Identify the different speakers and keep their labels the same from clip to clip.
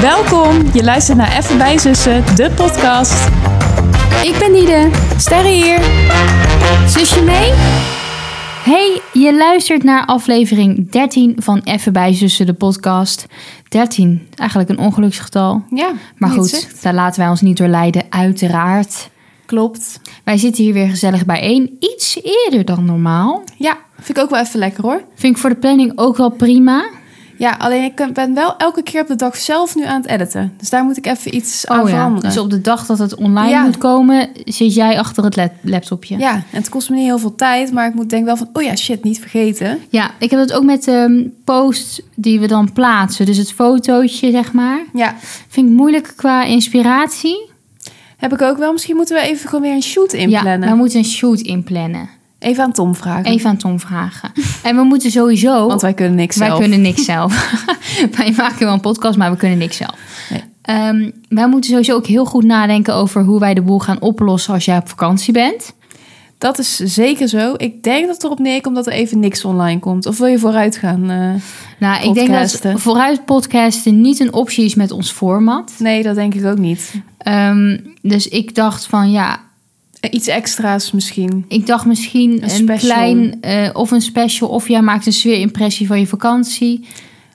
Speaker 1: Welkom, je luistert naar Even bij Zussen, de podcast.
Speaker 2: Ik ben Nide.
Speaker 1: Sterre hier.
Speaker 2: Zusje mee? Hey, je luistert naar aflevering 13 van Even bij Zussen, de podcast. 13, eigenlijk een ongeluksgetal.
Speaker 1: Ja,
Speaker 2: Maar
Speaker 1: wie het
Speaker 2: goed,
Speaker 1: zegt.
Speaker 2: daar laten wij ons niet door leiden, uiteraard.
Speaker 1: Klopt.
Speaker 2: Wij zitten hier weer gezellig bijeen, iets eerder dan normaal.
Speaker 1: Ja, vind ik ook wel even lekker hoor.
Speaker 2: Vind ik voor de planning ook wel prima.
Speaker 1: Ja, alleen ik eh, ben wel elke keer op de dag zelf nu aan het editen. Dus daar moet ik even iets aan
Speaker 2: Oh ja,
Speaker 1: veranderen.
Speaker 2: dus op de dag dat het online
Speaker 1: Ja.
Speaker 2: moet komen, zit jij achter het lap- laptopje.
Speaker 1: Ja, en het kost me niet heel veel tijd, maar ik moet denk wel van, oh ja, shit, niet vergeten.
Speaker 2: Ja, ik heb dat ook met ehm posts die we dan plaatsen. Dus het fotootje, zeg maar.
Speaker 1: Ja,
Speaker 2: Vind ik moeilijk qua inspiratie.
Speaker 1: heb ik ook wel. Misschien moeten we even gewoon weer een shoot
Speaker 2: Ja, we
Speaker 1: inplannen.
Speaker 2: moeten een shoot inplannen.
Speaker 1: Even aan Tom vragen.
Speaker 2: Even aan Tom vragen. En we moeten sowieso...
Speaker 1: Mhm. Want wij kunnen niks
Speaker 2: wij
Speaker 1: zelf.
Speaker 2: kunnen niks zelf. wij maken wel een podcast, maar we kunnen niks zelf.
Speaker 1: Nee.
Speaker 2: Ehm, wij moeten sowieso ook heel goed nadenken over hoe wij de boel gaan oplossen als jij op vakantie bent.
Speaker 1: Dat is zeker zo. Ik denk dat het erop neerkomt dat er even niks online komt. Of wil je vooruit gaan? eh?
Speaker 2: Nou, ik denk
Speaker 1: Podcasten.
Speaker 2: dat vooruit podcasten niet een optie is met ons format.
Speaker 1: Nee, dat denk ik ook niet.
Speaker 2: Ehm, dus ik dacht van ja,
Speaker 1: Eh, Iets extra's misschien.
Speaker 2: ik dacht misschien een,
Speaker 1: special.
Speaker 2: klein eh, of een special of jij maakt een sfeerimpressie van je vakantie.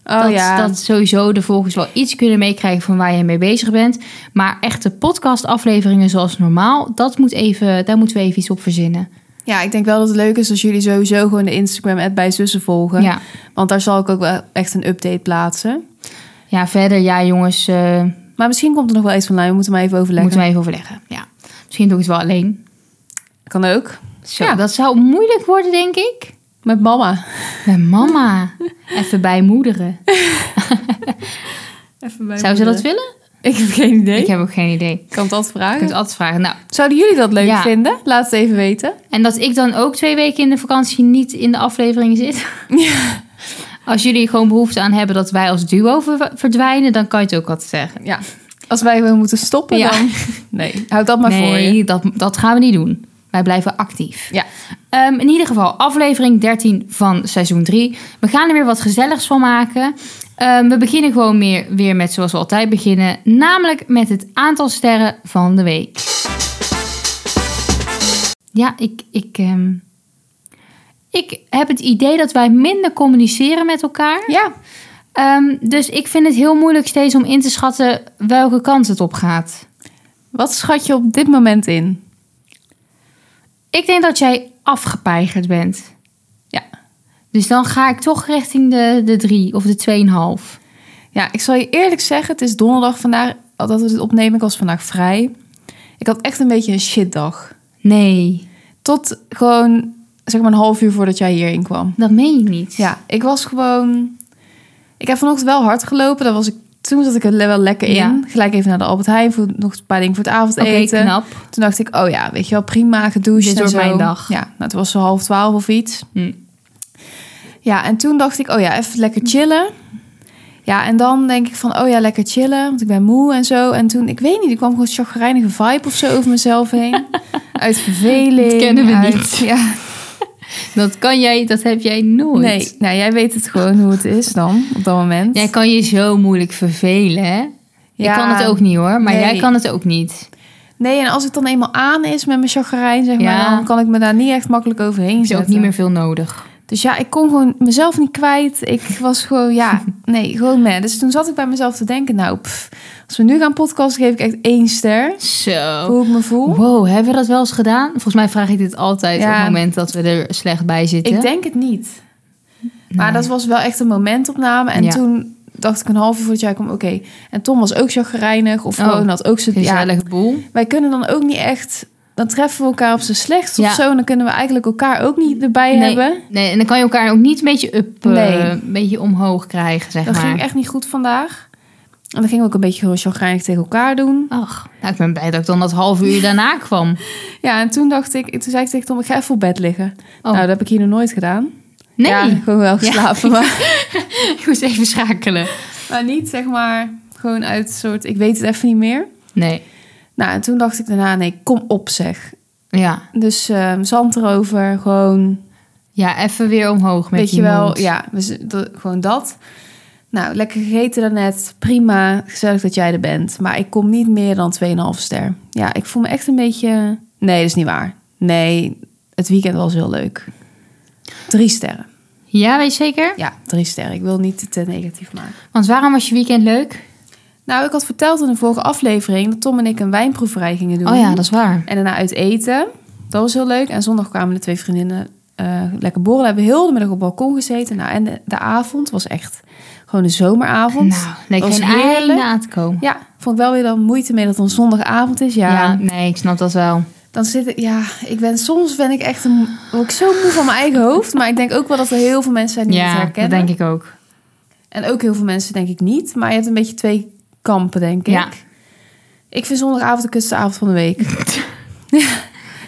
Speaker 1: Oh
Speaker 2: dat,
Speaker 1: ja.
Speaker 2: dat sowieso de volgers wel iets kunnen meekrijgen van waar je mee bezig bent. Maar echte podcastafleveringen zoals normaal, dat moet even, daar moeten we even iets op verzinnen.
Speaker 1: Ja, ik denk wel dat het leuk is als jullie sowieso gewoon de Instagram-ad bij zussen volgen.
Speaker 2: Ja.
Speaker 1: Want daar zal ik ook wel echt een update plaatsen.
Speaker 2: ja, verder, ja jongens, eh,
Speaker 1: Maar misschien komt er nog wel iets online. We moeten maar even overleggen.
Speaker 2: moeten we even overleggen. Ja. Misschien doe ik het wel alleen.
Speaker 1: Kan ook.
Speaker 2: Zo,
Speaker 1: Ja.
Speaker 2: dat zou moeilijk worden, denk ik.
Speaker 1: Met mama.
Speaker 2: Bij mama. Even bij moederen. Zou ze dat willen?
Speaker 1: Ik heb geen idee.
Speaker 2: Ik heb ook geen idee.
Speaker 1: Ik kan het altijd
Speaker 2: Je
Speaker 1: vragen.
Speaker 2: kunt altijd vragen. Nou,
Speaker 1: Zouden jullie dat leuk
Speaker 2: Ja.
Speaker 1: vinden? Laat het even weten.
Speaker 2: En dat ik dan ook twee weken in de vakantie niet in de aflevering zit. Als jullie gewoon behoefte aan hebben dat wij als duo ver- verdwijnen, dan kan je het ook wat zeggen.
Speaker 1: Ja. Als wij weer moeten stoppen
Speaker 2: Ja.
Speaker 1: dan... Nee, houd dat maar voor je.
Speaker 2: nee, dat, dat gaan we niet doen. Wij blijven actief.
Speaker 1: Ja.
Speaker 2: Ehm, in ieder geval, aflevering 13 van seizoen 3. We gaan er weer wat gezelligs van maken. Ehm, we beginnen gewoon meer, weer met zoals we altijd beginnen. Namelijk met het aantal sterren van de week. Ja, ik, ik, ehm, ik heb het idee dat wij minder communiceren met elkaar.
Speaker 1: Ja.
Speaker 2: Ehm, dus ik vind het heel moeilijk steeds om in te schatten welke kant het op gaat.
Speaker 1: Wat schat je op dit moment in?
Speaker 2: Ik denk dat jij afgepeigerd bent.
Speaker 1: Ja.
Speaker 2: Dus dan ga ik toch richting de, de drie of de tweeënhalf.
Speaker 1: Ja, ik zal je eerlijk zeggen, het is donderdag vandaag dat we dit opnemen. Ik was vandaag vrij. Ik had echt een beetje een shitdag.
Speaker 2: Nee,
Speaker 1: Tot gewoon, zeg maar, een half uur voordat jij hierin kwam.
Speaker 2: dat meen je niet.
Speaker 1: Ja, ik was gewoon... Ik heb vanochtend wel hard gelopen. Daar was ik, toen zat ik er wel lekker in.
Speaker 2: Ja.
Speaker 1: Gelijk even naar de Albert Heijn voor nog een paar dingen voor het
Speaker 2: Oké,
Speaker 1: avondeten.
Speaker 2: knap.
Speaker 1: toen dacht ik, oh ja, weet je wel, prima, gedoucht
Speaker 2: Dit
Speaker 1: en
Speaker 2: wordt
Speaker 1: zo.
Speaker 2: mijn dag.
Speaker 1: Ja, nou, het was zo half twaalf of iets.
Speaker 2: Hm.
Speaker 1: Ja, en toen dacht ik, oh ja, even lekker chillen. Ja, en dan denk ik van, oh ja, lekker chillen, want ik ben moe en zo. En toen, ik weet niet, ik kwam gewoon een chagrijnige vibe of zo over mezelf heen. uit verveling.
Speaker 2: Dat kennen we
Speaker 1: uit-
Speaker 2: niet.
Speaker 1: Ja,
Speaker 2: Dat kan jij, dat heb jij nooit.
Speaker 1: nee, nou jij weet het gewoon hoe het is dan, op dat moment.
Speaker 2: Jij kan je zo moeilijk vervelen, hè?
Speaker 1: Ja.
Speaker 2: Ik kan het ook niet hoor, maar
Speaker 1: Nee.
Speaker 2: jij kan het ook niet.
Speaker 1: Nee, en als het dan eenmaal aan is met mijn chagrijn, zeg maar,
Speaker 2: Ja.
Speaker 1: dan kan ik me daar niet echt makkelijk overheen
Speaker 2: Er is
Speaker 1: zetten.
Speaker 2: ook niet meer veel nodig.
Speaker 1: Dus ja, ik kon gewoon mezelf niet kwijt. Ik was gewoon, ja, nee, gewoon meh. Dus toen zat ik bij mezelf te denken, nou, pff, als we nu gaan podcasten, geef ik echt één ster.
Speaker 2: Zo.
Speaker 1: Hoe ik me voel.
Speaker 2: Wow, hebben we dat wel eens gedaan? Volgens mij vraag ik dit altijd
Speaker 1: Ja.
Speaker 2: op het moment dat we er slecht bij zitten.
Speaker 1: Ik denk het niet. Maar dat was wel echt een momentopname. En
Speaker 2: Ja.
Speaker 1: toen dacht ik een half uur voordat jij kwam, oké. En Tom was ook chagrijnig of
Speaker 2: Oh,
Speaker 1: gewoon had ook zijn... Ja,
Speaker 2: Gezellige boel.
Speaker 1: wij kunnen dan ook niet echt... Dan treffen we elkaar op zijn slechts
Speaker 2: Ja.
Speaker 1: of zo. En dan kunnen we eigenlijk elkaar ook niet erbij hebben.
Speaker 2: Nee, en dan kan je elkaar ook niet een beetje up, eh,
Speaker 1: Nee.
Speaker 2: een beetje omhoog krijgen, zeg
Speaker 1: Dat
Speaker 2: maar.
Speaker 1: ging echt niet goed vandaag. En dan gingen we ook een beetje gewoon chagrijnig tegen elkaar doen.
Speaker 2: Ach, nou, ik ben blij dat ik dan dat half uur daarna kwam.
Speaker 1: Ja, en toen dacht ik, toen zei ik tegen Tom, ik ga even op bed liggen.
Speaker 2: Oh.
Speaker 1: Nou, dat heb ik hier nog nooit gedaan.
Speaker 2: Nee,
Speaker 1: Ja, gewoon wel geslapen, maar,
Speaker 2: ik moest even schakelen.
Speaker 1: maar niet zeg maar gewoon uit soort, ik weet het even niet meer.
Speaker 2: Nee,
Speaker 1: Nou, en toen dacht ik daarna, nee, kom op zeg.
Speaker 2: ja.
Speaker 1: Dus ehm, zand erover, gewoon,
Speaker 2: Ja, even weer omhoog met
Speaker 1: weet
Speaker 2: die
Speaker 1: je wel,
Speaker 2: mond.
Speaker 1: ja, dus, dat- gewoon dat. Nou, lekker gegeten daarnet. Prima. Gezellig dat jij er bent. Maar ik kom niet meer dan 2,5 ster. Ja, ik voel me echt een beetje... Nee, dat is niet waar. Nee, het weekend was heel leuk. Drie sterren.
Speaker 2: Ja, weet je zeker?
Speaker 1: Ja, drie sterren. Ik wil niet te negatief maken.
Speaker 2: Want waarom was je weekend leuk?
Speaker 1: Nou, ik had verteld in de vorige aflevering dat Tom en ik een wijnproeverij gingen doen.
Speaker 2: Oh ja, dat is waar.
Speaker 1: En daarna uit eten. Dat was heel leuk. En zondag kwamen de twee vriendinnen eh, lekker borrelen. Hebben heel de middag op het balkon gezeten. Nou, en de, de avond was echt gewoon een zomeravond.
Speaker 2: Nou, leek
Speaker 1: was
Speaker 2: geen einde
Speaker 1: heerlijk.
Speaker 2: aan te komen.
Speaker 1: Ja, vond ik wel weer dan moeite mee dat het een zondagavond is. Ja,
Speaker 2: Ja. nee, ik snap dat wel.
Speaker 1: dan zit ik... Ja, ik ben, soms ben ik echt een, word ik zo moe van mijn eigen hoofd. Maar ik denk ook wel dat er heel veel mensen zijn die het
Speaker 2: Ja, dat
Speaker 1: herkennen.
Speaker 2: denk ik ook.
Speaker 1: En ook heel veel mensen denk ik niet. Maar je hebt een beetje twee kampen, denk ik.
Speaker 2: Ja.
Speaker 1: Ik vind zondagavond de kutste avond van de week.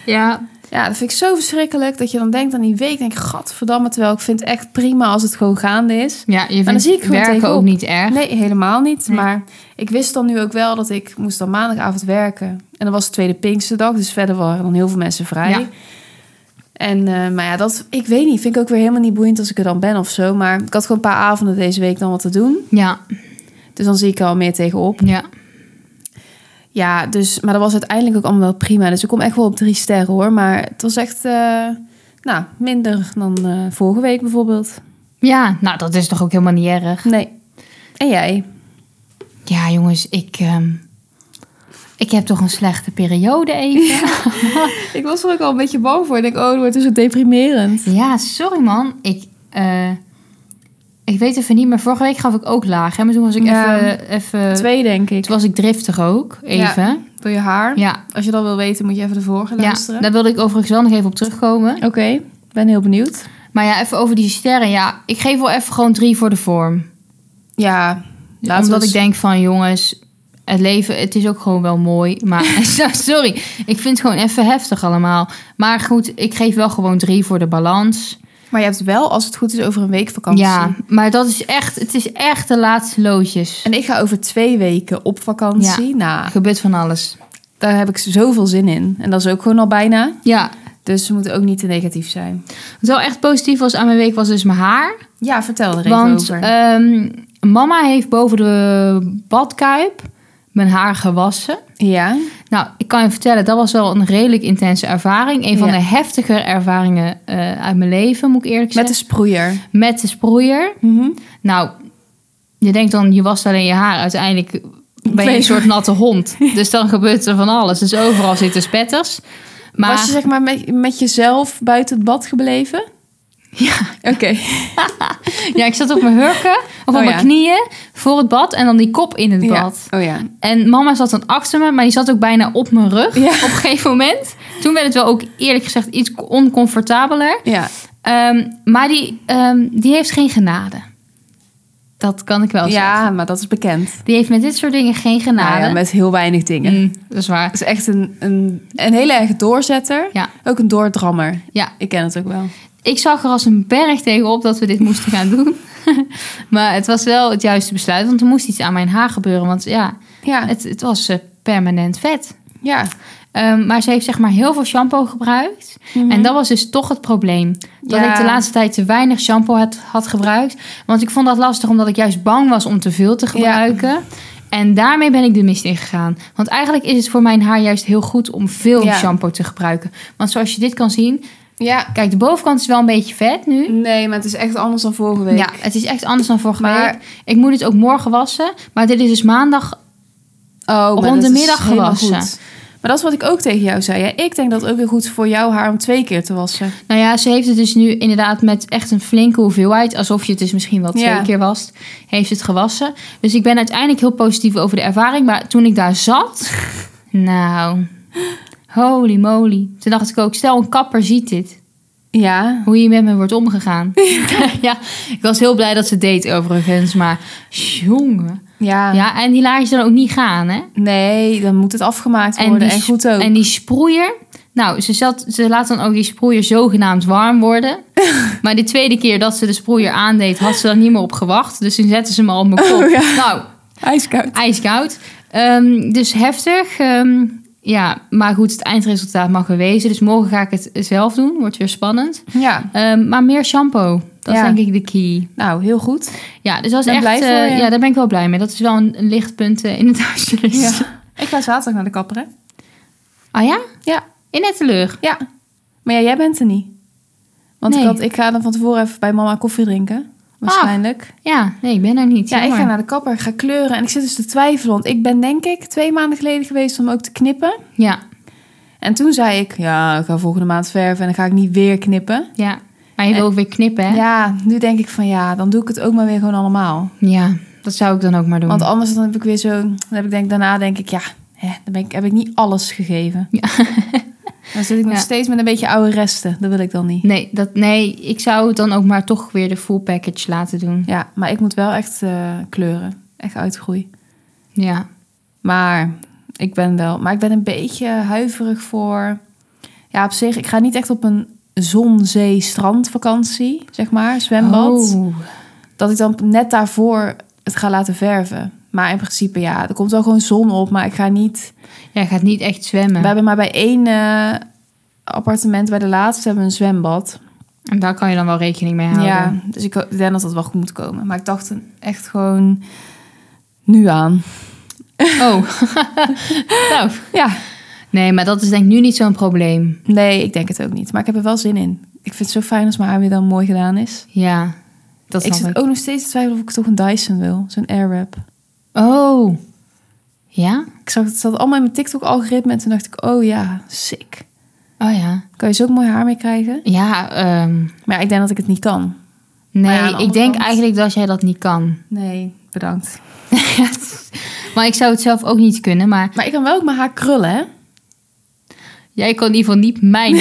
Speaker 2: Ja,
Speaker 1: Ja, dat vind ik zo verschrikkelijk dat je dan denkt aan die week. Denk, ik, gadverdamme, terwijl ik vind het echt prima als het gewoon gaande is.
Speaker 2: ja je
Speaker 1: dan
Speaker 2: vindt
Speaker 1: zie ik gewoon
Speaker 2: werken
Speaker 1: tegenop.
Speaker 2: ook niet erg.
Speaker 1: Nee, helemaal niet.
Speaker 2: Nee.
Speaker 1: Maar ik wist dan nu ook wel dat ik moest dan maandagavond werken. En dan was het tweede Pinksterdag, dus verder waren dan heel veel mensen vrij.
Speaker 2: Ja.
Speaker 1: En, eh, maar ja, dat, ik weet niet, vind ik ook weer helemaal niet boeiend als ik er dan ben of zo. Maar ik had gewoon een paar avonden deze week dan wat te doen.
Speaker 2: Ja,
Speaker 1: Dus dan zie ik er al meer tegenop.
Speaker 2: ja.
Speaker 1: Ja, dus, maar dat was uiteindelijk ook allemaal wel prima. Dus ik kom echt wel op drie sterren hoor. Maar het was echt, eh, nou, minder dan eh, vorige week bijvoorbeeld.
Speaker 2: Ja, nou dat is toch ook helemaal niet erg.
Speaker 1: Nee. En jij?
Speaker 2: Ja, jongens, ik, ehm, ik heb toch een slechte periode even. Ja,
Speaker 1: Ik was er ook al een beetje bang voor. Ik denk, oh, het wordt zo deprimerend.
Speaker 2: sorry man. Ik, eh, ik weet even niet, maar vorige week gaf ik ook laag. Hè? Maar toen was ik
Speaker 1: Ja.
Speaker 2: even, even...
Speaker 1: Twee, denk ik.
Speaker 2: Toen was ik driftig ook, even.
Speaker 1: Door je haar.
Speaker 2: Ja,
Speaker 1: Als je dat wil weten, moet je even de vorige
Speaker 2: ja,
Speaker 1: luisteren.
Speaker 2: daar wilde ik overigens wel nog even op terugkomen.
Speaker 1: Oké, ben heel benieuwd.
Speaker 2: Maar ja, even over die sterren. Ja, ik geef wel even gewoon drie voor de vorm.
Speaker 1: Ja, laten
Speaker 2: Omdat
Speaker 1: we
Speaker 2: ik
Speaker 1: het-
Speaker 2: denk van, jongens, het leven, het is ook gewoon wel mooi. Maar sorry, ik vind het gewoon even heftig allemaal. Maar goed, ik geef wel gewoon drie voor de balans.
Speaker 1: Maar je hebt wel, als het goed is, over een week vakantie.
Speaker 2: Ja, maar dat is echt, het is echt de laatste loodjes.
Speaker 1: En ik ga over twee weken op vakantie. Nou,
Speaker 2: Er gebeurt van alles.
Speaker 1: daar heb ik zoveel zin in. En dat is ook gewoon al bijna.
Speaker 2: Ja,
Speaker 1: Dus ze moeten ook niet te negatief zijn.
Speaker 2: wat wel echt positief was aan mijn week was dus mijn haar.
Speaker 1: Ja, vertel er even
Speaker 2: Want
Speaker 1: over.
Speaker 2: ehm, mama heeft boven de badkuip mijn haar gewassen.
Speaker 1: ja,
Speaker 2: Nou, ik kan je vertellen, dat was wel een redelijk intense ervaring. Een van
Speaker 1: Ja.
Speaker 2: de heftiger ervaringen eh, uit mijn leven, moet ik eerlijk
Speaker 1: met de
Speaker 2: zeggen.
Speaker 1: sproeier.
Speaker 2: Met de sproeier.
Speaker 1: Mhm.
Speaker 2: Nou, je denkt dan, je wast alleen je haar. Uiteindelijk ben je
Speaker 1: Ben je-
Speaker 2: een soort natte hond. Dus dan gebeurt er van alles. Dus overal zitten spetters. Maar
Speaker 1: Was je zeg maar met, met jezelf buiten het bad gebleven? Ja. Oké.
Speaker 2: ja, ik zat op mijn hurken of op
Speaker 1: Oh
Speaker 2: mijn
Speaker 1: ja.
Speaker 2: knieën voor het bad. En dan die kop in het
Speaker 1: Ja.
Speaker 2: bad.
Speaker 1: Oh ja.
Speaker 2: En mama zat dan achter me, maar die zat ook bijna op mijn rug
Speaker 1: Ja.
Speaker 2: op een gegeven moment. Toen werd het wel ook eerlijk gezegd iets oncomfortabeler.
Speaker 1: Ja.
Speaker 2: Ehm, maar die, ehm, die heeft geen genade. Dat kan ik wel zeggen.
Speaker 1: ja, maar dat is bekend.
Speaker 2: Die heeft met dit soort dingen geen genade.
Speaker 1: Nou ja, met heel weinig dingen.
Speaker 2: Mm, dat is waar.
Speaker 1: Het is echt een, een, een hele erge doorzetter.
Speaker 2: Ja.
Speaker 1: Ook een doordrammer.
Speaker 2: Ja,
Speaker 1: Ik ken het ook wel.
Speaker 2: ik zag er als een berg tegenop dat we dit moesten gaan doen. maar het was wel het juiste besluit, want er moest iets aan mijn haar gebeuren. Want ja,
Speaker 1: Ja.
Speaker 2: het, het was eh, permanent vet.
Speaker 1: Ja.
Speaker 2: Ehm, maar ze heeft zeg maar heel veel shampoo gebruikt. En dat was dus toch het probleem. Dat
Speaker 1: Mhm. Ja.
Speaker 2: ik de laatste tijd te weinig shampoo had, had gebruikt. Want ik vond dat lastig omdat ik juist bang was om te veel te gebruiken. En daarmee ben ik de mist ingegaan. Want eigenlijk is het voor mijn haar juist heel goed om veel
Speaker 1: Ja.
Speaker 2: shampoo te gebruiken. Want zoals je dit kan zien.
Speaker 1: Ja.
Speaker 2: Kijk, de bovenkant is wel een beetje vet nu.
Speaker 1: Nee, maar het is echt anders dan vorige week.
Speaker 2: Ja, het is echt anders dan vorige
Speaker 1: Maar-
Speaker 2: week. Ik moet het ook morgen wassen. Maar dit is dus maandag
Speaker 1: Oh, maar
Speaker 2: rond
Speaker 1: dat
Speaker 2: de
Speaker 1: is
Speaker 2: middag
Speaker 1: helemaal
Speaker 2: gewassen.
Speaker 1: goed. Maar dat is wat ik ook tegen jou zei. Ja, ik denk dat het ook weer goed is voor jouw haar om twee keer te wassen.
Speaker 2: Nou ja, ze heeft het dus nu inderdaad met echt een flinke hoeveelheid, alsof je het dus misschien wel twee
Speaker 1: Ja.
Speaker 2: keer wast, heeft het gewassen. Dus ik ben uiteindelijk heel positief over de ervaring. Maar toen ik daar zat, nou, holy moly. Toen dacht ik ook, stel een kapper ziet dit,
Speaker 1: Ja,
Speaker 2: hoe je met me wordt omgegaan. ja, ik was heel blij dat ze het deed overigens, maar jongen.
Speaker 1: ja.
Speaker 2: Ja, en die laat je dan ook niet gaan, hè?
Speaker 1: Nee, dan moet het afgemaakt
Speaker 2: En
Speaker 1: worden
Speaker 2: die
Speaker 1: en
Speaker 2: sp-
Speaker 1: goed ook.
Speaker 2: En die sproeier. Nou, ze, zat, ze laat dan ook die sproeier zogenaamd warm worden. maar de tweede keer dat ze de sproeier aandeed, had ze er niet meer op gewacht. Dus toen zetten ze me al op mijn kop.
Speaker 1: Oh, ja.
Speaker 2: Nou,
Speaker 1: Ijskoud.
Speaker 2: ijskoud. Ehm, dus heftig. Ehm, ja, maar goed, het eindresultaat mag er wezen. Dus morgen ga ik het zelf doen. Wordt weer spannend.
Speaker 1: Ja.
Speaker 2: Ehm, maar meer shampoo. Dat
Speaker 1: Ja.
Speaker 2: is denk ik de key.
Speaker 1: Nou, heel goed.
Speaker 2: Ja, dus dat is
Speaker 1: Ben
Speaker 2: echt...
Speaker 1: blij
Speaker 2: eh,
Speaker 1: voor je.
Speaker 2: Ja, daar ben ik wel blij mee. Dat is wel een, een lichtpunt eh, in het huisje.
Speaker 1: Ja. Ik ga zaterdag naar de kapper, hè?
Speaker 2: Ah ja?
Speaker 1: Ja.
Speaker 2: In het teleur.
Speaker 1: Ja. Maar ja, jij bent er niet. Want
Speaker 2: Nee.
Speaker 1: ik, had, ik ga dan van tevoren even bij mama koffie drinken. Waarschijnlijk.
Speaker 2: Ja, nee, ik ben er niet.
Speaker 1: ja, ik
Speaker 2: Jammer.
Speaker 1: ga naar de kapper, ik ga kleuren. En ik zit dus te twijfelen. Want ik ben denk ik twee maanden geleden geweest om ook te knippen.
Speaker 2: Ja,
Speaker 1: En toen zei ik, ja, ik ga volgende maand verven en dan ga ik niet weer knippen.
Speaker 2: ja. Maar je wil ook weer knippen, hè?
Speaker 1: Eh, Ja, nu denk ik van ja, dan doe ik het ook maar weer gewoon allemaal.
Speaker 2: Ja, dat zou ik dan ook maar doen.
Speaker 1: Want anders dan heb ik weer zo, dan heb ik denk, daarna denk ik, ja, hè, dan ben ik, heb ik niet alles gegeven.
Speaker 2: Ja.
Speaker 1: Dan zit ik nog
Speaker 2: Ja. Hmm.
Speaker 1: steeds met een beetje oude resten. Dat wil ik dan niet.
Speaker 2: Nee, dat, nee, ik zou het dan ook maar toch weer de full package laten doen.
Speaker 1: Ja, maar ik moet wel echt eh, kleuren. Echt uitgroei.
Speaker 2: Ja.
Speaker 1: Maar ik ben wel, maar ik ben een beetje huiverig voor. Ja, op zich, ik ga niet echt op een zon, zee, strandvakantie, zeg maar, zwembad.
Speaker 2: Oh.
Speaker 1: Dat ik dan net daarvoor het ga laten verven. Maar in principe, ja, er komt wel gewoon zon op, maar ik ga niet.
Speaker 2: Jij gaat niet echt zwemmen.
Speaker 1: We hebben maar bij één eh, appartement, bij de laatste, hebben we een zwembad.
Speaker 2: En daar kan je dan wel rekening mee houden.
Speaker 1: Ja, dus ik ho- ik denk dat dat wel goed moet komen. Maar ik dacht een- echt gewoon nu aan.
Speaker 2: Oh. nou.
Speaker 1: Ja,
Speaker 2: Nee, maar dat is denk ik nu niet zo'n probleem.
Speaker 1: nee, ik denk het ook niet. Maar ik heb er wel zin in. Ik vind het zo fijn als mijn haar weer dan mooi gedaan is.
Speaker 2: Ja. Dat
Speaker 1: ik
Speaker 2: snap
Speaker 1: zit
Speaker 2: ik.
Speaker 1: ook nog steeds te twijfelen of ik toch een Dyson wil. Zo'n Airwrap.
Speaker 2: Oh. Ja?
Speaker 1: Ik zag het zat allemaal in mijn TikTok-algoritme. En toen dacht ik, oh ja, sick.
Speaker 2: Oh ja.
Speaker 1: Kan je zo ook mooi haar mee krijgen?
Speaker 2: Ja, ehm,
Speaker 1: Maar ja, ik denk dat ik het niet kan. Maar
Speaker 2: nee,
Speaker 1: ja, aan de
Speaker 2: ik
Speaker 1: andere
Speaker 2: denk
Speaker 1: kant-
Speaker 2: eigenlijk dat jij dat niet kan.
Speaker 1: Nee, bedankt.
Speaker 2: maar ik zou het zelf ook niet kunnen, maar
Speaker 1: Maar ik kan wel ook mijn haar krullen, hè?
Speaker 2: jij kan in ieder geval niet mijn.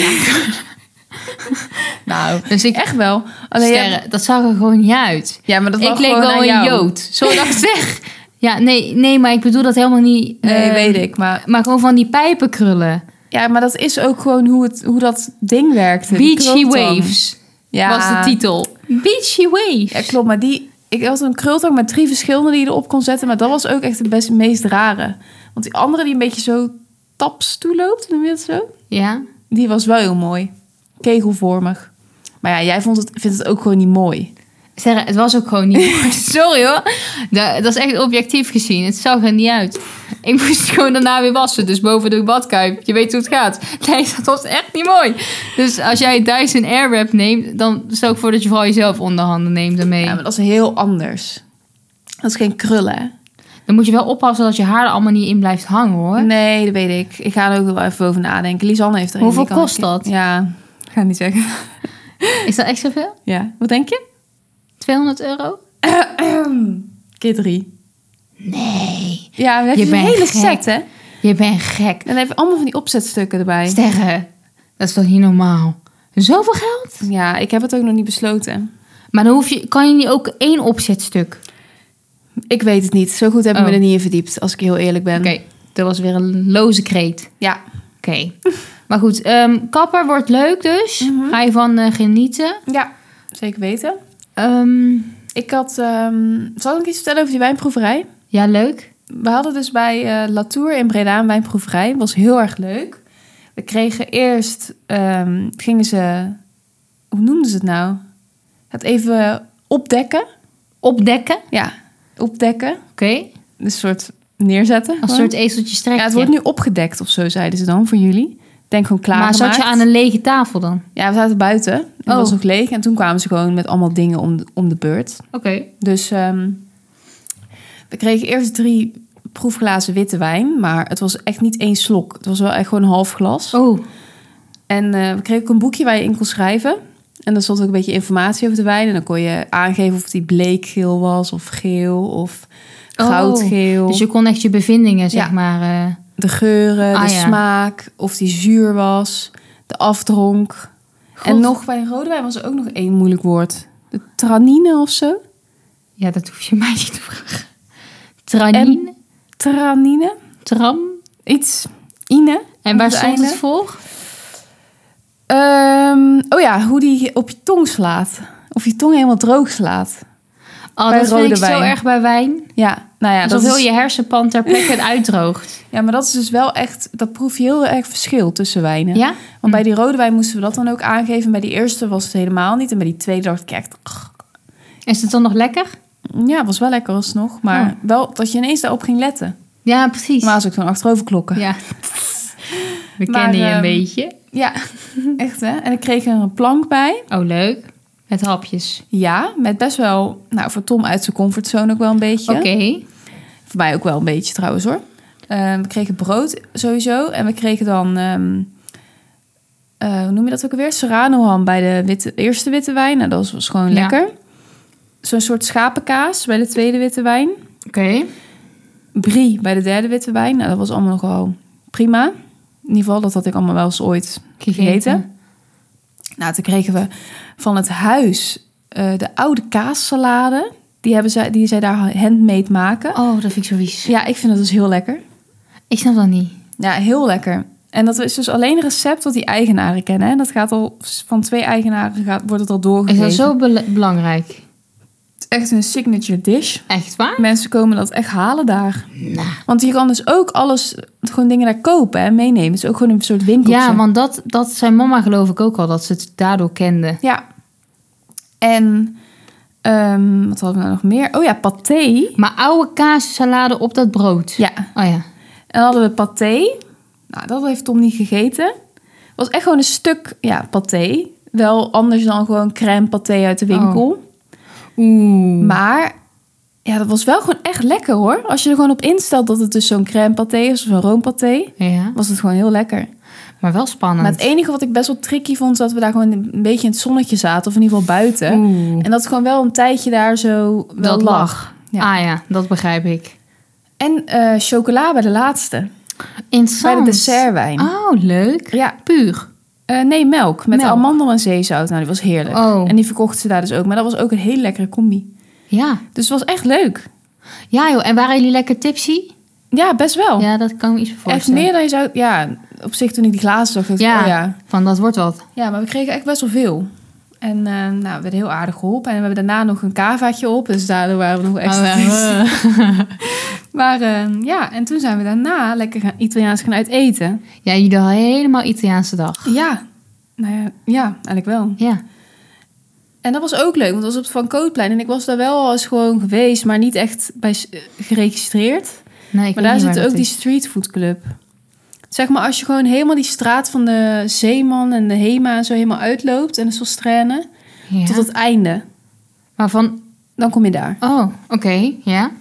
Speaker 1: Nou,
Speaker 2: dus ik
Speaker 1: echt wel. Alleen jij-
Speaker 2: sterren, dat zag er gewoon niet uit.
Speaker 1: Ja, maar dat
Speaker 2: ik
Speaker 1: lag
Speaker 2: leek
Speaker 1: gewoon
Speaker 2: wel
Speaker 1: aan
Speaker 2: een
Speaker 1: jou.
Speaker 2: jood. Zo dat ik zeg. Ja, nee, nee, maar ik bedoel dat helemaal niet.
Speaker 1: Nee,
Speaker 2: eh,
Speaker 1: weet ik. Maar,
Speaker 2: Maar gewoon van die pijpenkrullen.
Speaker 1: Ehm, ja, maar dat is ook gewoon hoe, het, hoe dat ding werkte. Die
Speaker 2: Beachy
Speaker 1: krultang.
Speaker 2: Waves
Speaker 1: Ja.
Speaker 2: was de titel. Beachy Waves.
Speaker 1: Ja, klopt. Maar die... Ik had een krultang met drie verschillende die je erop kon zetten. Maar dat was ook echt het best, meest rare. Want die andere die een beetje zo taps toeloopt, noem je dat zo?
Speaker 2: Ja.
Speaker 1: Die was wel heel mooi. Kegelvormig. Maar ja, jij vond het, vindt het ook gewoon niet mooi.
Speaker 2: Sterre, het was ook gewoon niet mooi. Sorry hoor. Da- Dat, is echt objectief gezien. Het zag er niet uit. Ik moest gewoon daarna weer wassen. Dus boven de badkuip. Je weet hoe het gaat. Nee, dat was echt niet mooi. Dus als jij Dyson Airwrap neemt, dan stel ik voor dat je vooral jezelf onderhanden neemt daarmee.
Speaker 1: Ja, maar dat is heel anders. Dat is geen krullen, hè?
Speaker 2: Dan moet je wel oppassen dat je haar er allemaal niet in blijft hangen hoor.
Speaker 1: Nee, dat weet ik. Ik ga er ook wel even over nadenken. Lisanne heeft er een.
Speaker 2: Hoeveel
Speaker 1: Die kan
Speaker 2: kost
Speaker 1: ik-
Speaker 2: dat?
Speaker 1: Ja, ik ga het niet zeggen.
Speaker 2: Is dat echt zoveel?
Speaker 1: Ja, wat denk je?
Speaker 2: 200 euro?
Speaker 1: Keer drie.
Speaker 2: Nee.
Speaker 1: Ja, dan heb
Speaker 2: Je
Speaker 1: je, een
Speaker 2: bent
Speaker 1: hele
Speaker 2: gek.
Speaker 1: set, hè? En
Speaker 2: Je bent gek.
Speaker 1: dan heb je allemaal van die opzetstukken erbij.
Speaker 2: Sterren. Dat is toch niet normaal? Zoveel geld?
Speaker 1: Ja, ik heb het ook nog niet besloten.
Speaker 2: Maar dan hoef je, kan je niet ook één opzetstuk?
Speaker 1: Ik weet het niet. Zo goed heb ik me
Speaker 2: Oh.
Speaker 1: er niet in verdiept, als ik heel eerlijk ben.
Speaker 2: Oké, dat was weer een loze kreet.
Speaker 1: Ja.
Speaker 2: Oké. maar goed, ehm, kapper wordt leuk dus.
Speaker 1: Mhm.
Speaker 2: Ga je van eh, genieten.
Speaker 1: ja, zeker weten.
Speaker 2: Ehm,
Speaker 1: Ik had... ehm, zal ik iets vertellen over die wijnproeverij?
Speaker 2: ja, leuk.
Speaker 1: We hadden dus bij eh Latour in Breda een wijnproeverij. was heel erg leuk. We kregen eerst... ehm, gingen ze... Hoe noemden ze het nou? Het even opdekken.
Speaker 2: Opdekken. Oké.
Speaker 1: Ja, opdekken. Een soort neerzetten.
Speaker 2: Als
Speaker 1: gewoon.
Speaker 2: een soort ezeltje
Speaker 1: ja,
Speaker 2: strekken.
Speaker 1: het wordt nu opgedekt of zo, zeiden ze dan voor jullie. Ik Denk gewoon
Speaker 2: maar
Speaker 1: klaargemaakt.
Speaker 2: zat je aan een lege tafel dan?
Speaker 1: Ja, we zaten buiten. en Het
Speaker 2: Oh.
Speaker 1: was nog leeg. En toen kwamen ze gewoon met allemaal dingen om de, om de beurt.
Speaker 2: Oké.
Speaker 1: Dus ehm, we kregen eerst drie proefglazen witte wijn, maar het was echt niet één slok. Het was wel echt gewoon een half glas.
Speaker 2: Oh,
Speaker 1: En eh, we kregen ook een boekje waar je in kon schrijven. En daar stond ook een beetje informatie over de wijn. En dan kon je aangeven of die bleekgeel was, of geel, of
Speaker 2: Oh,
Speaker 1: goudgeel.
Speaker 2: dus je kon echt je bevindingen, zeg
Speaker 1: Ja.
Speaker 2: maar. eh,
Speaker 1: De geuren,
Speaker 2: Ah,
Speaker 1: de
Speaker 2: ja.
Speaker 1: smaak, of die zuur was, de afdronk.
Speaker 2: God.
Speaker 1: En nog bij een rode wijn was er ook nog één moeilijk woord. De tranine of zo?
Speaker 2: Ja, dat hoef je mij niet te vragen. Tranin,
Speaker 1: Tranine?
Speaker 2: tram.
Speaker 1: Iets. Ine?
Speaker 2: En waar
Speaker 1: Op het
Speaker 2: stond
Speaker 1: einde.
Speaker 2: het voor?
Speaker 1: Ehm, oh ja, hoe die op je tong slaat. Of je tong helemaal droog slaat.
Speaker 2: Oh,
Speaker 1: Bij
Speaker 2: dat vind
Speaker 1: rode
Speaker 2: ik zo
Speaker 1: wijn.
Speaker 2: erg bij wijn.
Speaker 1: Ja, nou ja,
Speaker 2: Alsof
Speaker 1: dat
Speaker 2: heel
Speaker 1: is,
Speaker 2: je hersenpan ter plekke uitdroogt.
Speaker 1: ja, maar dat is dus wel echt, dat proef je heel erg verschil tussen wijnen.
Speaker 2: Ja? Mm.
Speaker 1: Want bij die rode wijn moesten we dat dan ook aangeven. Bij die eerste was het helemaal niet. En bij die tweede dacht ik echt, "Ugh."
Speaker 2: Is het dan nog lekker?
Speaker 1: ja, het was wel lekker alsnog. Maar
Speaker 2: Ja.
Speaker 1: wel dat je ineens daarop ging letten.
Speaker 2: Ja, precies.
Speaker 1: Normaal zou ik dan achterover klokken. Ja.
Speaker 2: Ja. We
Speaker 1: Maar,
Speaker 2: kennen je een
Speaker 1: ehm,
Speaker 2: beetje.
Speaker 1: echt hè. En ik kreeg er een plank bij.
Speaker 2: Oh, leuk. Met hapjes.
Speaker 1: Ja, met best wel, nou voor Tom uit zijn comfortzone ook wel een beetje.
Speaker 2: Oké.
Speaker 1: Voor mij ook wel een beetje trouwens hoor. Eh, we kregen brood sowieso. En we kregen dan, ehm, eh, hoe noem je dat ook alweer? Serrano ham bij de witte, eerste witte wijn. Nou, dat was, was gewoon
Speaker 2: Ja.
Speaker 1: lekker. Zo'n soort schapenkaas bij de tweede witte wijn.
Speaker 2: Oké.
Speaker 1: Brie bij de derde witte wijn. Nou, dat was allemaal nogal prima. In ieder geval, dat had ik allemaal wel eens ooit gegeten. Nou, toen kregen we van het huis eh, de oude kaassalade. Die, hebben zij, die zij daar handmade maken.
Speaker 2: Oh, dat vind ik zo vies.
Speaker 1: Ja, ik vind dat dus heel lekker.
Speaker 2: Ik snap dat niet.
Speaker 1: Ja, heel lekker. En dat is dus alleen een recept dat die eigenaren kennen. Hè? Dat gaat al van twee eigenaren gaat, wordt het al
Speaker 2: Is
Speaker 1: doorgegeven.
Speaker 2: dat zo bel- belangrijk?
Speaker 1: Het is echt een signature dish.
Speaker 2: Echt waar?
Speaker 1: Mensen komen dat echt halen daar.
Speaker 2: Nou.
Speaker 1: Want je kan dus ook alles, gewoon dingen daar kopen en meenemen. Het is ook gewoon een soort winkeltje.
Speaker 2: Ja, want dat, dat zijn mama geloof ik ook al, dat ze het daardoor kende.
Speaker 1: Ja. En ehm, wat hadden we nou nog meer? Oh ja, paté.
Speaker 2: Maar oude kaassalade op dat brood.
Speaker 1: Ja.
Speaker 2: Oh ja.
Speaker 1: En dan hadden we paté. Nou, dat heeft Tom niet gegeten. Het was echt gewoon een stuk, ja, paté. Wel anders dan gewoon crème paté uit de
Speaker 2: Oh.
Speaker 1: winkel.
Speaker 2: Oeh.
Speaker 1: Maar ja, dat was wel gewoon echt lekker hoor. Als je er gewoon op instelt dat het dus zo'n crème paté is of zo'n roompaté,
Speaker 2: Ja,
Speaker 1: was het gewoon heel lekker.
Speaker 2: maar wel spannend.
Speaker 1: Maar het enige wat ik best wel tricky vond, is dat we daar gewoon een beetje in het zonnetje zaten, of in ieder geval buiten.
Speaker 2: Oeh.
Speaker 1: En dat het gewoon wel een tijdje daar zo e- wel
Speaker 2: Dat
Speaker 1: lag.
Speaker 2: lag.
Speaker 1: Ja.
Speaker 2: Ah ja, dat begrijp ik.
Speaker 1: En eh, chocola bij de laatste, bij
Speaker 2: Interessant.
Speaker 1: de dessertwijn.
Speaker 2: Oh, leuk.
Speaker 1: Ja,
Speaker 2: Puur.
Speaker 1: eh, nee, melk met
Speaker 2: Melk.
Speaker 1: amandel en zeezout. Nou, die was heerlijk.
Speaker 2: Oh.
Speaker 1: En die verkochten ze daar dus ook. Maar dat was ook een hele lekkere combi.
Speaker 2: Ja.
Speaker 1: Dus het was echt leuk.
Speaker 2: Ja joh, en waren jullie lekker tipsy?
Speaker 1: Ja, best wel.
Speaker 2: Ja, dat kan ik me iets
Speaker 1: Oh. echt
Speaker 2: voorstellen.
Speaker 1: meer dan je zou... Ja, op zich toen ik die glazen zag, dacht ik,
Speaker 2: Ja.
Speaker 1: oh ja. Oh,
Speaker 2: Van dat wordt wat.
Speaker 1: Ja, maar we kregen echt best wel veel. En eh, nou, we werden heel aardig geholpen. En we hebben daarna nog een cavaatje op. Dus daardoor waren we nog extra
Speaker 2: Ah,
Speaker 1: feest.
Speaker 2: ja.
Speaker 1: Maar eh, ja, en toen zijn we daarna lekker gaan, Italiaans gaan uit eten.
Speaker 2: ja, jullie hadden helemaal Italiaanse dag.
Speaker 1: Ja, nou ja, ja, eigenlijk wel.
Speaker 2: Ja.
Speaker 1: En dat was ook leuk, want dat was op het Van Kootplein. En ik was daar wel al eens gewoon geweest, maar niet echt bij s- eh, geregistreerd.
Speaker 2: Nee, ik
Speaker 1: maar
Speaker 2: weet
Speaker 1: daar
Speaker 2: niet waar
Speaker 1: zit ook
Speaker 2: dat
Speaker 1: die
Speaker 2: is.
Speaker 1: streetfood club. Zeg maar, als je gewoon helemaal die straat van de Zeeman en de Hema en zo helemaal uitloopt... en de Sostraine,
Speaker 2: Ja.
Speaker 1: tot het einde,
Speaker 2: Maar van...
Speaker 1: dan kom je daar.
Speaker 2: Oh, oké. Ja.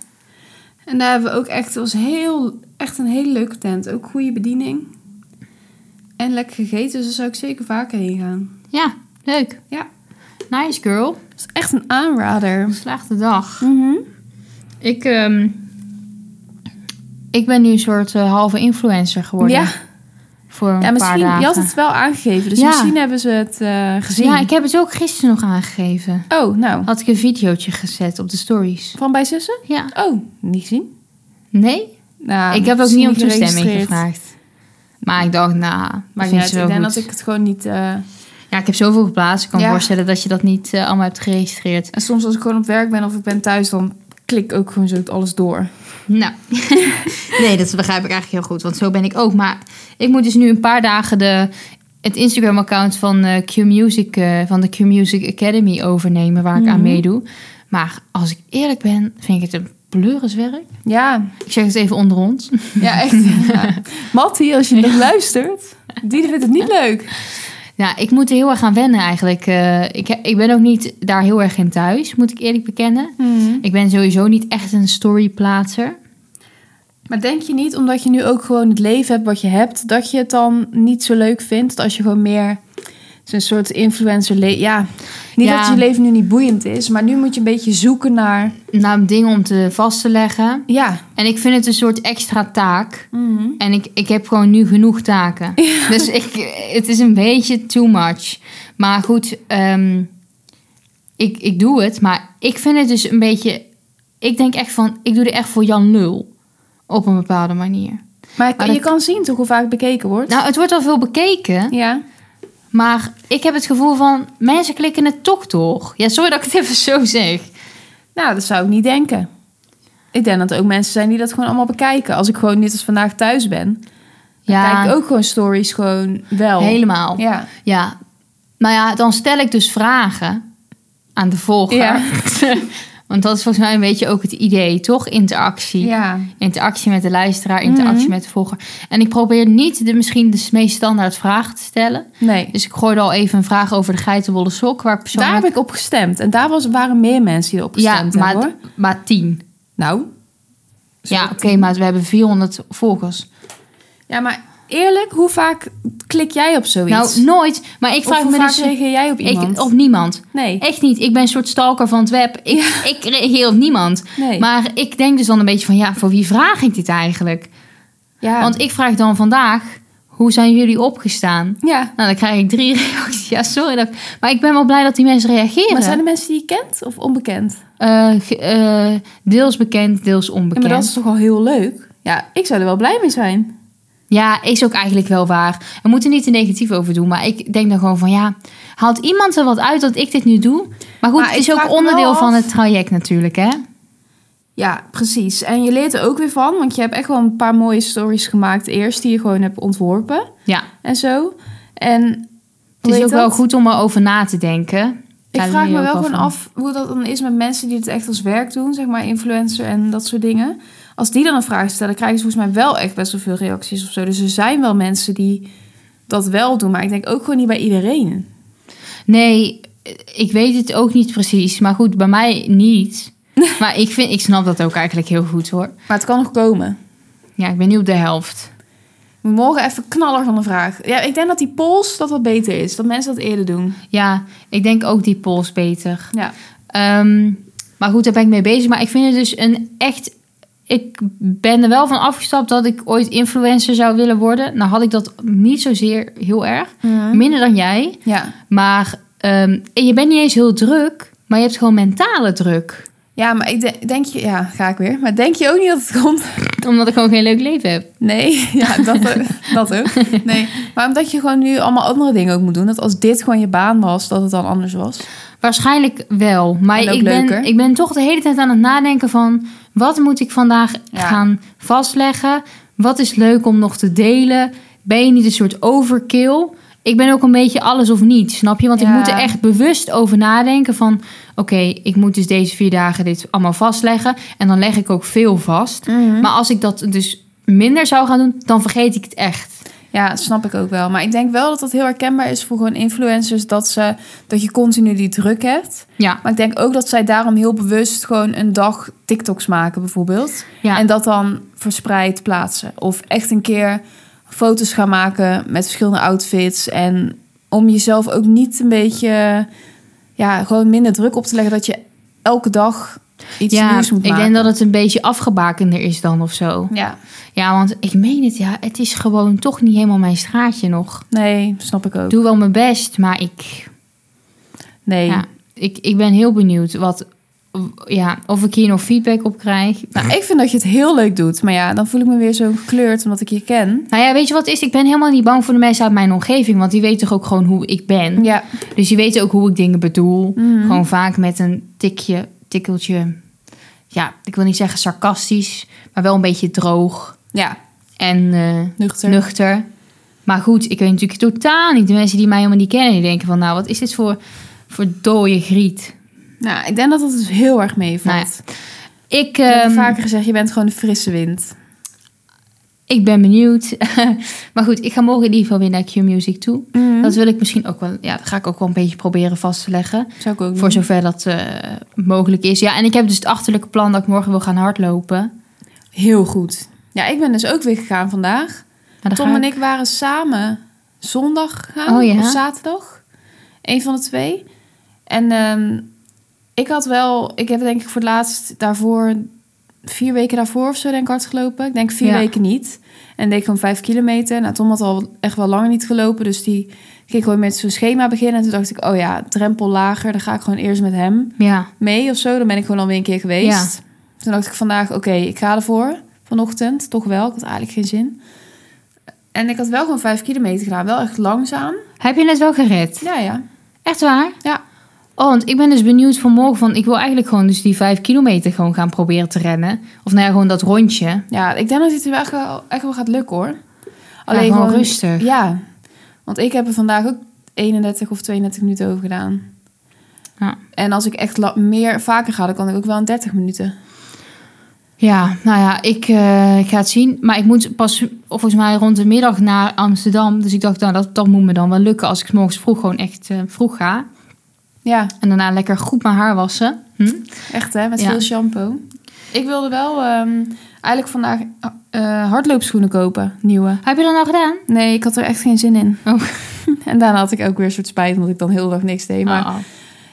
Speaker 1: En daar hebben we ook echt, het was heel, echt een hele leuke tent. Ook goede bediening. En lekker gegeten, dus daar zou ik zeker vaker heen gaan.
Speaker 2: Ja, leuk.
Speaker 1: Ja.
Speaker 2: Nice girl.
Speaker 1: Het is echt een aanrader.
Speaker 2: Geslaagde dag.
Speaker 1: Mhm.
Speaker 2: Ik, ehm, ik ben nu een soort eh, halve influencer geworden.
Speaker 1: Ja,
Speaker 2: Voor een
Speaker 1: ja, misschien,
Speaker 2: paar dagen.
Speaker 1: je had het wel aangegeven, dus
Speaker 2: Ja.
Speaker 1: misschien hebben ze het eh, gezien.
Speaker 2: Ja, ik heb het ook gisteren nog aangegeven.
Speaker 1: Oh, nou.
Speaker 2: Had ik een videootje gezet op de stories.
Speaker 1: Van bij zussen?
Speaker 2: Ja.
Speaker 1: Oh, niet gezien.
Speaker 2: Nee?
Speaker 1: Nou,
Speaker 2: ik heb ook
Speaker 1: misschien
Speaker 2: niet om toestemming
Speaker 1: geregistreerd.
Speaker 2: gevraagd. Maar ik dacht, nou,
Speaker 1: Maar
Speaker 2: dat
Speaker 1: niet
Speaker 2: vind
Speaker 1: uit,
Speaker 2: ze
Speaker 1: ik
Speaker 2: wel
Speaker 1: denk
Speaker 2: goed.
Speaker 1: dat ik het gewoon niet... eh,
Speaker 2: Ja, ik heb zoveel geplaatst. Ik kan
Speaker 1: Ja.
Speaker 2: me voorstellen dat je dat niet eh, allemaal hebt geregistreerd.
Speaker 1: En soms als ik gewoon op werk ben of ik ben thuis, dan klik ik ook gewoon zo alles door.
Speaker 2: Nou, nee, dat begrijp ik eigenlijk heel goed. Want zo ben ik ook. Maar ik moet dus nu een paar dagen de, het Instagram-account van, eh, Q Music, eh, van de Q Music Academy overnemen. Waar ik aan
Speaker 1: Mhm.
Speaker 2: meedoe. Maar als ik eerlijk ben, vind ik het een pleuriswerk.
Speaker 1: Ja,
Speaker 2: Ik zeg het even onder ons.
Speaker 1: ja echt. ja. Mattie, als je nog luistert, die vindt het niet leuk.
Speaker 2: Ja, ik moet er heel erg aan wennen eigenlijk. Eh, ik, he- ik ben ook niet daar heel erg in thuis, moet ik eerlijk bekennen.
Speaker 1: Hmm.
Speaker 2: Ik ben sowieso niet echt een storyplaatser.
Speaker 1: Maar denk je niet, omdat je nu ook gewoon het leven hebt wat je hebt, dat je het dan niet zo leuk vindt? Dat Als je gewoon meer zo'n soort influencer le- Ja, niet
Speaker 2: Ja.
Speaker 1: dat je leven nu niet boeiend is, maar nu moet je een beetje zoeken naar.
Speaker 2: Nou, dingen om te vast te leggen.
Speaker 1: Ja,
Speaker 2: En ik vind het een soort extra taak. En ik, ik heb gewoon nu genoeg taken. Dus ik, het is een beetje too much. Maar goed, ehm, ik, ik doe het. Maar ik vind het dus een beetje... Ik denk echt van, ik doe er echt voor Jan Lul. Op een bepaalde manier.
Speaker 1: maar,
Speaker 2: Maar
Speaker 1: je
Speaker 2: dat-
Speaker 1: kan zien toch hoe vaak het bekeken wordt?
Speaker 2: Nou, het wordt al veel bekeken.
Speaker 1: ja.
Speaker 2: Maar ik heb het gevoel van, mensen klikken het toch door. Ja, sorry dat ik het even zo zeg.
Speaker 1: Nou, dat zou ik niet denken. Ik denk dat er ook mensen zijn die dat gewoon allemaal bekijken. Als ik gewoon net als vandaag thuis ben, dan kijk ik ook gewoon stories gewoon wel.
Speaker 2: helemaal. Ja.
Speaker 1: Ja.
Speaker 2: Nou ja, dan stel ik dus vragen aan de volger.
Speaker 1: Ja.
Speaker 2: Want dat is volgens mij een beetje ook het idee, toch? Interactie.
Speaker 1: ja.
Speaker 2: Interactie met de luisteraar, interactie
Speaker 1: Mhm.
Speaker 2: met de volger. En ik probeer niet de, misschien de meest standaard vraag te stellen.
Speaker 1: Nee.
Speaker 2: Dus ik gooide al even een vraag over de geitenwolle sok. Waar
Speaker 1: Daar
Speaker 2: persoonlijk...
Speaker 1: heb ik op gestemd. En daar was, waren meer mensen die op
Speaker 2: ja,
Speaker 1: gestemd
Speaker 2: maar,
Speaker 1: hebben, hoor.
Speaker 2: maar tien.
Speaker 1: Nou.
Speaker 2: Ja, oké, maar we hebben 400 volgers.
Speaker 1: Ja, maar eerlijk, hoe vaak klik jij op zoiets?
Speaker 2: Nou, nooit. Maar ik
Speaker 1: Of
Speaker 2: vraag
Speaker 1: hoe
Speaker 2: me
Speaker 1: vaak
Speaker 2: dus...
Speaker 1: reageer jij op iemand?
Speaker 2: Ik, op niemand.
Speaker 1: Nee.
Speaker 2: Echt niet. Ik ben een soort stalker van het web. Ik, ik reageer op niemand.
Speaker 1: nee.
Speaker 2: Maar ik denk dus dan een beetje van... Ja, voor wie vraag ik dit eigenlijk?
Speaker 1: ja.
Speaker 2: Want ik vraag dan vandaag... Hoe zijn jullie opgestaan?
Speaker 1: ja.
Speaker 2: Nou, dan krijg ik drie reacties. Ja, sorry. Dat... Maar ik ben wel blij dat die mensen reageren.
Speaker 1: Maar zijn er mensen die je kent of onbekend?
Speaker 2: Eh, ge- eh, deels bekend, deels
Speaker 1: Ja,
Speaker 2: onbekend.
Speaker 1: maar dat is toch al heel leuk? Ja, ik zou er wel blij mee zijn.
Speaker 2: Ja, is ook eigenlijk wel waar. We moeten niet te negatief over doen. Maar ik denk dan gewoon van ja, haalt iemand er wat uit dat ik dit nu doe? Maar goed,
Speaker 1: Maar
Speaker 2: het
Speaker 1: ik
Speaker 2: is ook
Speaker 1: vraag me wel
Speaker 2: onderdeel
Speaker 1: af-
Speaker 2: van het traject natuurlijk, hè?
Speaker 1: Ja, precies. En je leert er ook weer van, want je hebt echt wel een paar mooie stories gemaakt eerst die je gewoon hebt ontworpen
Speaker 2: Ja.
Speaker 1: en zo. En
Speaker 2: Het
Speaker 1: hoe
Speaker 2: is
Speaker 1: heet
Speaker 2: ook wel
Speaker 1: dat?
Speaker 2: goed om erover na te denken.
Speaker 1: Ik
Speaker 2: Daar leer
Speaker 1: vraag
Speaker 2: je
Speaker 1: me
Speaker 2: ook
Speaker 1: wel
Speaker 2: wel
Speaker 1: gewoon
Speaker 2: van.
Speaker 1: af hoe dat dan is met mensen die het echt als werk doen, zeg maar influencer en dat soort dingen. Als die dan een vraag stellen, krijgen ze volgens mij wel echt best wel veel reacties of zo. Dus er zijn wel mensen die dat wel doen, maar ik denk ook gewoon niet bij iedereen.
Speaker 2: Nee, ik weet het ook niet precies. Maar goed, bij mij niet. Maar ik, vind, ik snap dat ook eigenlijk heel goed hoor.
Speaker 1: Maar het kan nog komen.
Speaker 2: Ja, ik ben nu op de helft.
Speaker 1: We mogen even knaller van de vraag. Ja, ik denk dat die pols dat wat beter is, dat mensen dat eerder doen.
Speaker 2: Ja, ik denk ook die pols beter.
Speaker 1: Ja.
Speaker 2: Ehm, maar goed, daar ben ik mee bezig. Maar ik vind het dus een echt. Ik ben er wel van afgestapt dat ik ooit influencer zou willen worden. Nou had ik dat niet zozeer heel erg.
Speaker 1: Hm. Mhm.
Speaker 2: Minder dan jij.
Speaker 1: Ja.
Speaker 2: Maar ehm, en je bent niet eens heel druk. Maar je hebt gewoon mentale druk.
Speaker 1: Ja, maar ik de- denk je, ja, ga ik weer. Maar denk je ook niet dat het komt?
Speaker 2: Omdat ik gewoon geen leuk leven heb.
Speaker 1: Nee, ja, dat, ook- dat ook. Nee, maar omdat je gewoon nu allemaal andere dingen ook moet doen. Dat als dit gewoon je baan was, dat het dan anders was.
Speaker 2: Waarschijnlijk wel. Maar
Speaker 1: En ook
Speaker 2: ik ben,
Speaker 1: leuker.
Speaker 2: ik ben toch de hele tijd aan het nadenken van... wat moet ik vandaag
Speaker 1: Ja.
Speaker 2: gaan vastleggen? Wat is leuk om nog te delen? Ben je niet een soort overkill? Ik ben ook een beetje alles of niet, snap je? Want ik
Speaker 1: Ja.
Speaker 2: moet er echt bewust over nadenken van... oké, ik moet dus deze vier dagen dit allemaal vastleggen. En dan leg ik ook veel vast.
Speaker 1: Mhm.
Speaker 2: Maar als ik dat dus minder zou gaan doen, dan vergeet ik het echt.
Speaker 1: Ja, dat snap ik ook wel. Maar ik denk wel dat dat heel herkenbaar is voor gewoon influencers. Dat, ze, dat je continu die druk hebt.
Speaker 2: Ja,
Speaker 1: Maar ik denk ook dat zij daarom heel bewust gewoon een dag TikToks maken bijvoorbeeld.
Speaker 2: ja.
Speaker 1: En dat dan verspreid plaatsen. Of echt een keer foto's gaan maken met verschillende outfits. En om jezelf ook niet een beetje... Ja, gewoon minder druk op te leggen dat je elke dag iets
Speaker 2: ja
Speaker 1: nieuws moet
Speaker 2: ik
Speaker 1: maken.
Speaker 2: denk dat het een beetje afgebakender is dan of zo.
Speaker 1: Ja,
Speaker 2: Ja, want ik meen het, ja, het is gewoon toch niet helemaal mijn straatje nog.
Speaker 1: nee, snap ik
Speaker 2: Ik
Speaker 1: ook.
Speaker 2: doe wel mijn best, maar ik,
Speaker 1: Nee.
Speaker 2: ja, ik, ik ben heel benieuwd wat, ja, of ik hier nog feedback op krijg.
Speaker 1: Nou, ik vind dat je het heel leuk doet. Maar ja, dan voel ik me weer zo gekleurd omdat ik je ken.
Speaker 2: Nou ja, weet je wat het is? Ik ben helemaal niet bang voor de mensen uit mijn omgeving, want die weten toch ook gewoon hoe ik ben.
Speaker 1: Ja,
Speaker 2: Dus die weten ook hoe ik dingen bedoel.
Speaker 1: Mhm.
Speaker 2: Gewoon vaak met een tikje, tikkeltje, ja, ik wil niet zeggen sarcastisch, maar wel een beetje droog
Speaker 1: ja
Speaker 2: en eh,
Speaker 1: nuchter.
Speaker 2: nuchter. Maar goed, ik weet natuurlijk totaal niet. De mensen die mij helemaal niet kennen, die denken van... nou, wat is dit voor, voor dode griet?
Speaker 1: Nou, ik denk dat dat dus heel erg
Speaker 2: Nou
Speaker 1: meevalt.
Speaker 2: Ik,
Speaker 1: Ik heb
Speaker 2: ehm,
Speaker 1: vaker gezegd, je bent gewoon de frisse wind.
Speaker 2: ik ben benieuwd. maar goed, ik ga morgen in ieder geval weer naar Q-Music toe.
Speaker 1: Mhm.
Speaker 2: Dat wil ik misschien ook wel... Ja, dat ga ik ook wel een beetje proberen vast te leggen.
Speaker 1: zou ik ook
Speaker 2: Voor
Speaker 1: doen.
Speaker 2: zover dat eh, mogelijk is. Ja, en ik heb dus het achterlijke plan dat ik morgen wil gaan hardlopen.
Speaker 1: Heel goed. Ja, ik ben dus ook weer gegaan vandaag.
Speaker 2: Maar dan
Speaker 1: Tom
Speaker 2: ga
Speaker 1: en ik waren samen zondag gegaan.
Speaker 2: Oh, ja?
Speaker 1: Of zaterdag. Eén van de twee. En ehm, ik had wel... Ik heb denk ik voor het laatst daarvoor... Vier weken daarvoor of zo denk ik hard gelopen. Ik denk vier
Speaker 2: Ja.
Speaker 1: weken niet. En deed ik gewoon vijf kilometer. Nou, Tom had al echt wel lang niet gelopen. Dus die ging gewoon met zijn schema beginnen. En toen dacht ik, oh ja, drempel lager. Dan ga ik gewoon eerst met hem
Speaker 2: Ja,
Speaker 1: mee of zo. Dan ben ik gewoon alweer een keer geweest. Toen dacht ik vandaag, oké, ik ga ervoor. Vanochtend, toch wel. Ik had eigenlijk geen zin. En ik had wel gewoon vijf kilometer gedaan. Wel echt langzaam.
Speaker 2: heb je net wel gered?
Speaker 1: Ja, ja.
Speaker 2: Echt waar?
Speaker 1: Ja.
Speaker 2: Oh, want ik ben dus benieuwd vanmorgen van... Ik wil eigenlijk gewoon dus die vijf kilometer gewoon gaan proberen te rennen. Of nou ja, gewoon dat rondje.
Speaker 1: Ja, ik denk dat het wel echt wel, echt wel gaat lukken hoor.
Speaker 2: Alleen gewoon, rustig.
Speaker 1: Ja, want ik heb er vandaag ook 31 of 32 minuten over gedaan.
Speaker 2: Ja.
Speaker 1: En als ik echt la- meer vaker ga, dan kan ik ook wel in 30 minuten.
Speaker 2: Ja, nou ja, ik eh, ik ga het zien. Maar ik moet pas of volgens mij rond de middag naar Amsterdam. Dus ik dacht, nou, dat, dat moet me dan wel lukken als ik 's morgens vroeg gewoon echt eh, vroeg ga.
Speaker 1: Ja,
Speaker 2: En daarna lekker goed mijn haar wassen. Hm?
Speaker 1: echt hè, met
Speaker 2: Ja.
Speaker 1: veel shampoo. Ik wilde wel ehm, eigenlijk vandaag eh, hardloopschoenen kopen, nieuwe.
Speaker 2: Heb je dat nou gedaan?
Speaker 1: Nee, ik had er echt geen zin in.
Speaker 2: Oh.
Speaker 1: en daarna had ik ook weer een soort spijt, omdat ik dan heel de dag niks deed. Maar
Speaker 2: Oh, oh.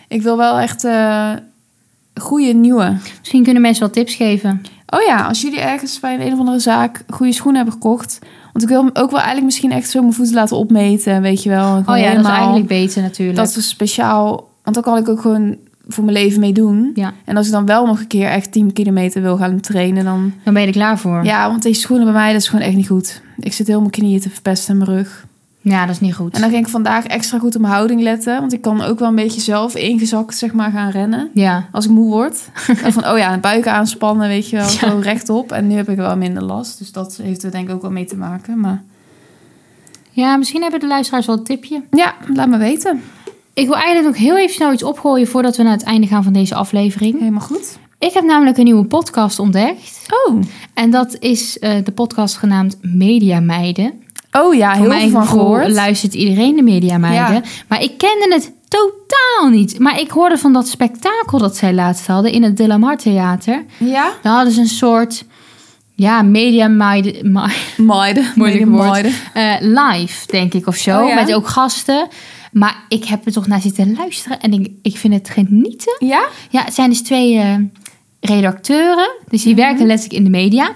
Speaker 1: ik wil wel echt eh goede nieuwe.
Speaker 2: Misschien kunnen mensen wel tips geven.
Speaker 1: Oh ja, als jullie ergens bij een, een of andere zaak goede schoenen hebben gekocht. Want ik wil hem ook wel eigenlijk misschien echt zo mijn voeten laten opmeten, weet je wel. Gewoon
Speaker 2: Oh ja, dat
Speaker 1: helemaal-
Speaker 2: is eigenlijk beter natuurlijk.
Speaker 1: Dat is speciaal, want dan kan ik ook gewoon voor mijn leven mee doen.
Speaker 2: Ja,
Speaker 1: En als ik dan wel nog een keer echt 10 kilometer wil gaan trainen, dan...
Speaker 2: dan ben je er klaar voor. Ja,
Speaker 1: Ja, want deze schoenen bij mij, dat is gewoon echt niet goed. Ik zit heel mijn knieën te verpesten en mijn rug.
Speaker 2: dat is niet goed.
Speaker 1: En dan ging ik vandaag extra goed op mijn houding letten. Want ik kan ook wel een beetje zelf ingezakt, zeg maar, gaan rennen.
Speaker 2: Ja.
Speaker 1: Als ik moe word. En van, oh ja, buiken aanspannen, weet je wel.
Speaker 2: Ja.
Speaker 1: Gewoon rechtop. En nu heb ik wel minder last. Dus dat heeft er denk ik ook wel mee te maken. Maar
Speaker 2: ja, misschien hebben de luisteraars wel een tipje.
Speaker 1: ja, laat me weten.
Speaker 2: Ik wil eigenlijk nog heel even snel iets opgooien voordat we naar het einde gaan van deze aflevering.
Speaker 1: Helemaal goed.
Speaker 2: Ik heb namelijk een nieuwe podcast ontdekt.
Speaker 1: Oh,
Speaker 2: En dat is eh, de podcast genaamd Media Meiden.
Speaker 1: oh ja, heel veel van
Speaker 2: gevoel
Speaker 1: gehoord.
Speaker 2: luistert iedereen de Media Meiden. Maar ik kende het totaal niet. Maar ik hoorde van dat spektakel dat zij laatst hadden in het De La Mar Theater.
Speaker 1: ja?
Speaker 2: Daar hadden ze een soort ja, Media Meiden... Ma-
Speaker 1: Meiden.
Speaker 2: Moeilijk
Speaker 1: Meiden,
Speaker 2: woord.
Speaker 1: meiden.
Speaker 2: eh, live, denk ik, of zo.
Speaker 1: Oh ja?
Speaker 2: Met ook gasten. Maar ik heb er toch naar zitten luisteren en ik, ik vind het genieten.
Speaker 1: Ja?
Speaker 2: Ja, het zijn dus twee eh, redacteuren. Dus
Speaker 1: Mhm.
Speaker 2: die werken letterlijk in de media.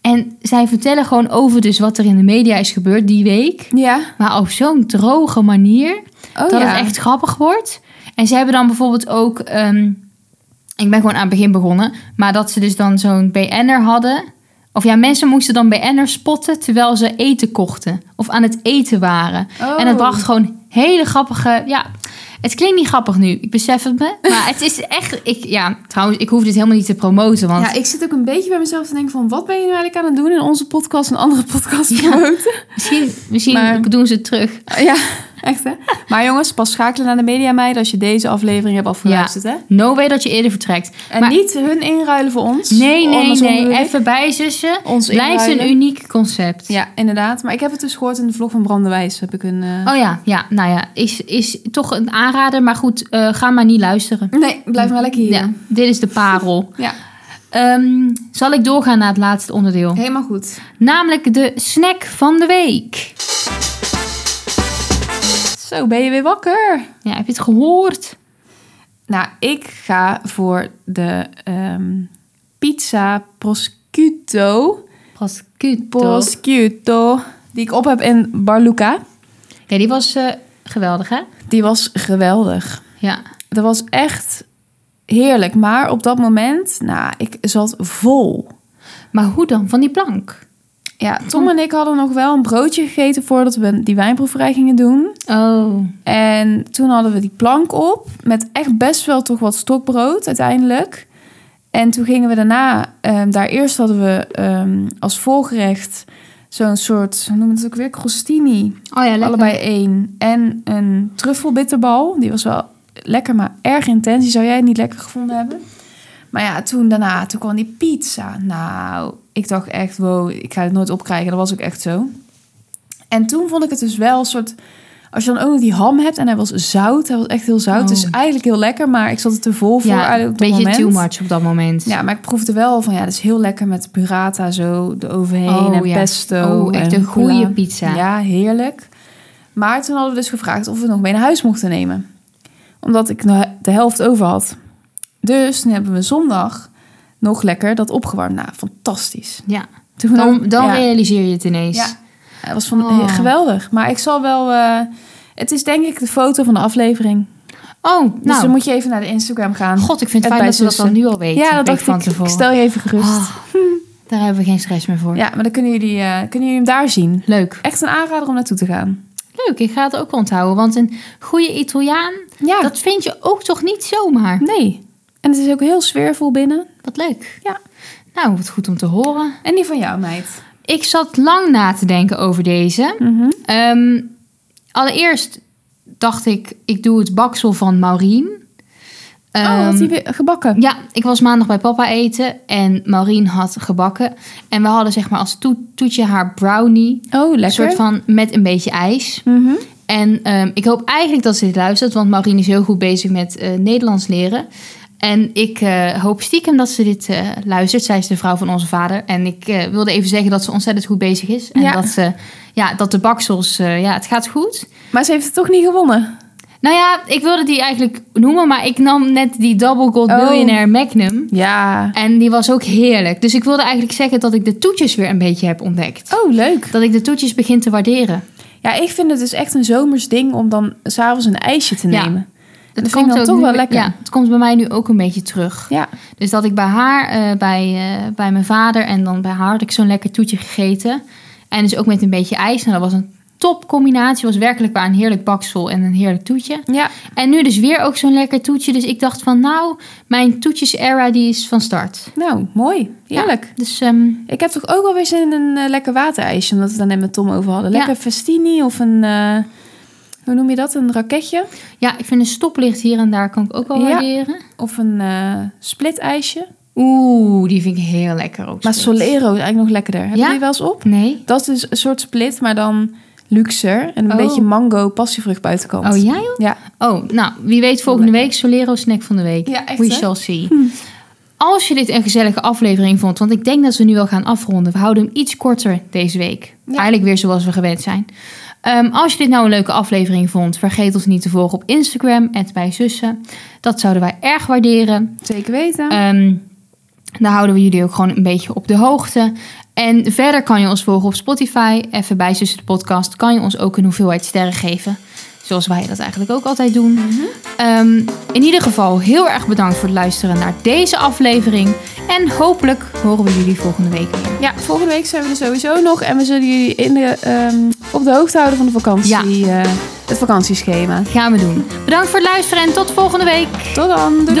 Speaker 2: En zij vertellen gewoon over dus wat er in de media is gebeurd die week.
Speaker 1: Ja.
Speaker 2: Maar op zo'n droge manier
Speaker 1: Oh
Speaker 2: dat
Speaker 1: ja.
Speaker 2: het echt grappig wordt. En ze hebben dan bijvoorbeeld ook... ehm, ik ben gewoon aan het begin begonnen. Maar dat ze dus dan zo'n BN'er hadden. Of ja, mensen moesten dan BN'ers spotten terwijl ze eten kochten. Of aan het eten waren.
Speaker 1: Oh.
Speaker 2: En dat bracht gewoon hele grappige... Ja, het klinkt niet grappig nu. Ik besef het me. Maar het is echt... Ik, ja, trouwens, ik hoef dit helemaal niet te promoten. Want
Speaker 1: Ja, ik zit ook een beetje bij mezelf te denken van... wat ben je nu eigenlijk aan het doen in onze podcast en andere podcasts
Speaker 2: Ja.
Speaker 1: promoten?
Speaker 2: misschien, misschien
Speaker 1: Maar-
Speaker 2: doen ze het terug.
Speaker 1: Ja, echt hè? Maar jongens, pas schakelen naar de media meiden als je deze aflevering hebt afgeluisterd hè?
Speaker 2: No way dat je eerder vertrekt.
Speaker 1: En
Speaker 2: Maar-
Speaker 1: niet hun inruilen voor ons.
Speaker 2: Nee, nee,
Speaker 1: Andersom
Speaker 2: nee.
Speaker 1: bedoel ik.
Speaker 2: Even bijzussen.
Speaker 1: Ons
Speaker 2: Blijft
Speaker 1: inruilen.
Speaker 2: een uniek concept.
Speaker 1: Ja, inderdaad. Maar ik heb het dus gehoord in de vlog van Brandewijs. Heb ik een... eh,
Speaker 2: Oh ja, ja, nou ja, is, is toch een aanrader. Maar goed, eh, ga maar niet luisteren.
Speaker 1: Nee, blijf maar lekker hier.
Speaker 2: Ja, dit is de parel.
Speaker 1: Ja.
Speaker 2: Ehm, zal ik doorgaan naar het laatste onderdeel?
Speaker 1: Helemaal goed.
Speaker 2: Namelijk de snack van de week.
Speaker 1: Zo, ben je weer wakker?
Speaker 2: Ja, heb je het gehoord?
Speaker 1: Nou, ik ga voor de ehm, pizza prosciutto.
Speaker 2: Prosciutto.
Speaker 1: Prosciutto. Die ik op heb in Barluca.
Speaker 2: Ja, die was eh, geweldig, hè?
Speaker 1: Die was geweldig.
Speaker 2: Ja.
Speaker 1: Dat was echt heerlijk. Maar op dat moment, nou, ik zat vol.
Speaker 2: Maar hoe dan? Van die plank?
Speaker 1: Ja, Tom en ik hadden nog wel een broodje gegeten voordat we die wijnproeverij gingen doen.
Speaker 2: Oh,
Speaker 1: En toen hadden we die plank op met echt best wel toch wat stokbrood uiteindelijk. En toen gingen we daarna, ehm, daar eerst hadden we ehm, als voorgerecht zo'n soort, hoe noemen we het ook weer, crostini.
Speaker 2: oh ja, lekker.
Speaker 1: Allebei één. En een truffelbitterbal. Die was wel lekker, maar erg intens. Die zou jij niet lekker gevonden hebben. Maar ja, toen daarna, toen kwam die pizza. Nou, ik dacht echt, wow, ik ga het nooit opkrijgen. Dat was ook echt zo. En toen vond ik het dus wel een soort... Als je dan ook nog die ham hebt en hij was zout. Hij was echt heel zout.
Speaker 2: Oh.
Speaker 1: Dus eigenlijk heel lekker, maar ik zat er te vol voor
Speaker 2: Ja,
Speaker 1: eigenlijk
Speaker 2: een
Speaker 1: op dat
Speaker 2: beetje
Speaker 1: moment.
Speaker 2: too much op dat moment.
Speaker 1: Ja, maar ik proefde wel van, ja, dat is heel lekker met burrata zo eroverheen.
Speaker 2: Oh,
Speaker 1: en
Speaker 2: ja.
Speaker 1: pesto.
Speaker 2: Oh, echt
Speaker 1: en
Speaker 2: een goede
Speaker 1: goula.
Speaker 2: pizza.
Speaker 1: Ja, heerlijk. Maar toen hadden we dus gevraagd of we nog mee naar huis mochten nemen. Omdat ik nog de helft over had. Dus toen hebben we zondag nog lekker dat opgewarmd. Nou, fantastisch.
Speaker 2: Ja.
Speaker 1: Toen
Speaker 2: Dan, dan
Speaker 1: ja,
Speaker 2: realiseer je het ineens.
Speaker 1: Ja. het was van,
Speaker 2: Oh.
Speaker 1: geweldig. Maar ik zal wel... eh, het is denk ik de foto van de aflevering.
Speaker 2: Oh, nou.
Speaker 1: Dus dan moet je even naar de Instagram gaan.
Speaker 2: God, ik vind
Speaker 1: Het
Speaker 2: het fijn dat we dat
Speaker 1: bijzussen.
Speaker 2: dan nu al weten.
Speaker 1: ja,
Speaker 2: Een
Speaker 1: dat dacht
Speaker 2: week van
Speaker 1: ik. Ik
Speaker 2: tevoren.
Speaker 1: stel je even gerust.
Speaker 2: Ah, daar
Speaker 1: Oh.
Speaker 2: hebben we geen stress meer voor.
Speaker 1: Ja, maar dan kunnen jullie, eh, kunnen jullie hem daar zien.
Speaker 2: Leuk.
Speaker 1: Echt een aanrader om naartoe te gaan.
Speaker 2: Leuk, ik ga het ook onthouden. Want een goede Italiaan,
Speaker 1: Ja,
Speaker 2: dat vind je ook toch niet zomaar?
Speaker 1: nee. En het is ook heel sfeervol binnen.
Speaker 2: Wat leuk.
Speaker 1: Ja.
Speaker 2: Nou, wat goed om te horen.
Speaker 1: En die van jou, meid.
Speaker 2: Ik zat lang na te denken over deze.
Speaker 1: Mhm.
Speaker 2: Ehm, allereerst dacht ik, ik doe het baksel van Maureen.
Speaker 1: oh, had
Speaker 2: Ehm,
Speaker 1: die weer gebakken?
Speaker 2: Ja, ik was maandag bij papa eten en Maureen had gebakken. En we hadden zeg maar als toe- toetje haar brownie.
Speaker 1: Oh, lekker.
Speaker 2: Een soort van met een beetje ijs.
Speaker 1: Mhm.
Speaker 2: En ehm, ik hoop eigenlijk dat ze dit luistert, want Maureen is heel goed bezig met eh, Nederlands leren. En ik eh, hoop stiekem dat ze dit eh, luistert. Zij is de vrouw van onze vader. En ik eh, wilde even zeggen dat ze ontzettend goed bezig is. En
Speaker 1: Ja.
Speaker 2: dat, ze, ja, dat de baksels, eh, ja, het gaat goed.
Speaker 1: Maar ze heeft het toch niet gewonnen?
Speaker 2: Nou ja, ik wilde die eigenlijk noemen, maar ik nam net die Double Gold
Speaker 1: Oh.
Speaker 2: Billionaire Magnum.
Speaker 1: Ja.
Speaker 2: En die was ook heerlijk. Dus ik wilde eigenlijk zeggen dat ik de toetjes weer een beetje heb ontdekt.
Speaker 1: Oh, leuk.
Speaker 2: Dat ik de toetjes begin te waarderen.
Speaker 1: Ja, ik vind het dus echt een zomers ding om dan s'avonds een ijsje te
Speaker 2: Ja.
Speaker 1: nemen. Dat vind ik dan
Speaker 2: ook
Speaker 1: toch
Speaker 2: nu-
Speaker 1: wel lekker.
Speaker 2: Ja, het komt bij mij nu ook een beetje terug.
Speaker 1: Ja.
Speaker 2: Dus dat ik bij haar, eh, bij, eh, bij mijn vader en dan bij haar had ik zo'n lekker toetje gegeten. En dus ook met een beetje ijs. Nou, dat was een top combinatie. Was werkelijk waar een heerlijk baksel en een heerlijk toetje.
Speaker 1: Ja.
Speaker 2: En nu dus weer ook zo'n lekker toetje. Dus ik dacht van nou, mijn toetjes-era die is van start.
Speaker 1: Nou, mooi. Heerlijk.
Speaker 2: Dus ehm,
Speaker 1: Ik heb toch ook wel weer zin in een eh, lekker waterijsje, omdat we het daar net met Tom over hadden.
Speaker 2: Ja.
Speaker 1: Lekker festini of een, eh, hoe noem je dat, een raketje?
Speaker 2: ja, ik vind een stoplicht hier en daar kan ik ook wel
Speaker 1: Ja.
Speaker 2: waarderen.
Speaker 1: Of een eh splitijsje.
Speaker 2: Oeh, die vind ik heel lekker ook.
Speaker 1: Maar
Speaker 2: split.
Speaker 1: Solero is eigenlijk nog lekkerder. Heb
Speaker 2: Ja?
Speaker 1: je die wel eens op?
Speaker 2: Nee.
Speaker 1: Dat is dus een soort split, maar dan luxer. En een
Speaker 2: Oh.
Speaker 1: beetje mango passievrucht buitenkant.
Speaker 2: Oh, jij ook?
Speaker 1: Ja.
Speaker 2: Oh, nou, wie weet volgende week Solero snack van de week.
Speaker 1: Ja, echt,
Speaker 2: We
Speaker 1: hè? Hm.
Speaker 2: shall see. Als je dit een gezellige aflevering vond, want ik denk dat we nu wel gaan afronden. We houden hem iets korter deze week.
Speaker 1: Ja.
Speaker 2: Eigenlijk weer zoals we gewend zijn. Ehm, als je dit nou een leuke aflevering vond, vergeet ons niet te volgen op Instagram, @bijzussen. Dat zouden wij erg waarderen.
Speaker 1: Zeker weten.
Speaker 2: Ehm, daar houden we jullie ook gewoon een beetje op de hoogte. En verder kan je ons volgen op Spotify. Even bij Zussen de Podcast kan je ons ook een hoeveelheid sterren geven. Zoals wij dat eigenlijk ook altijd doen. Ehm, in ieder geval heel erg bedankt voor het luisteren naar deze aflevering. En hopelijk horen we jullie volgende week weer.
Speaker 1: Ja, volgende week zijn we er sowieso nog. En we zullen jullie in de, ehm, op de hoogte houden van de vakantie, eh, het vakantieschema.
Speaker 2: Gaan we doen. Bedankt voor het luisteren en tot volgende week.
Speaker 1: Tot dan. doei.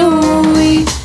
Speaker 1: doei.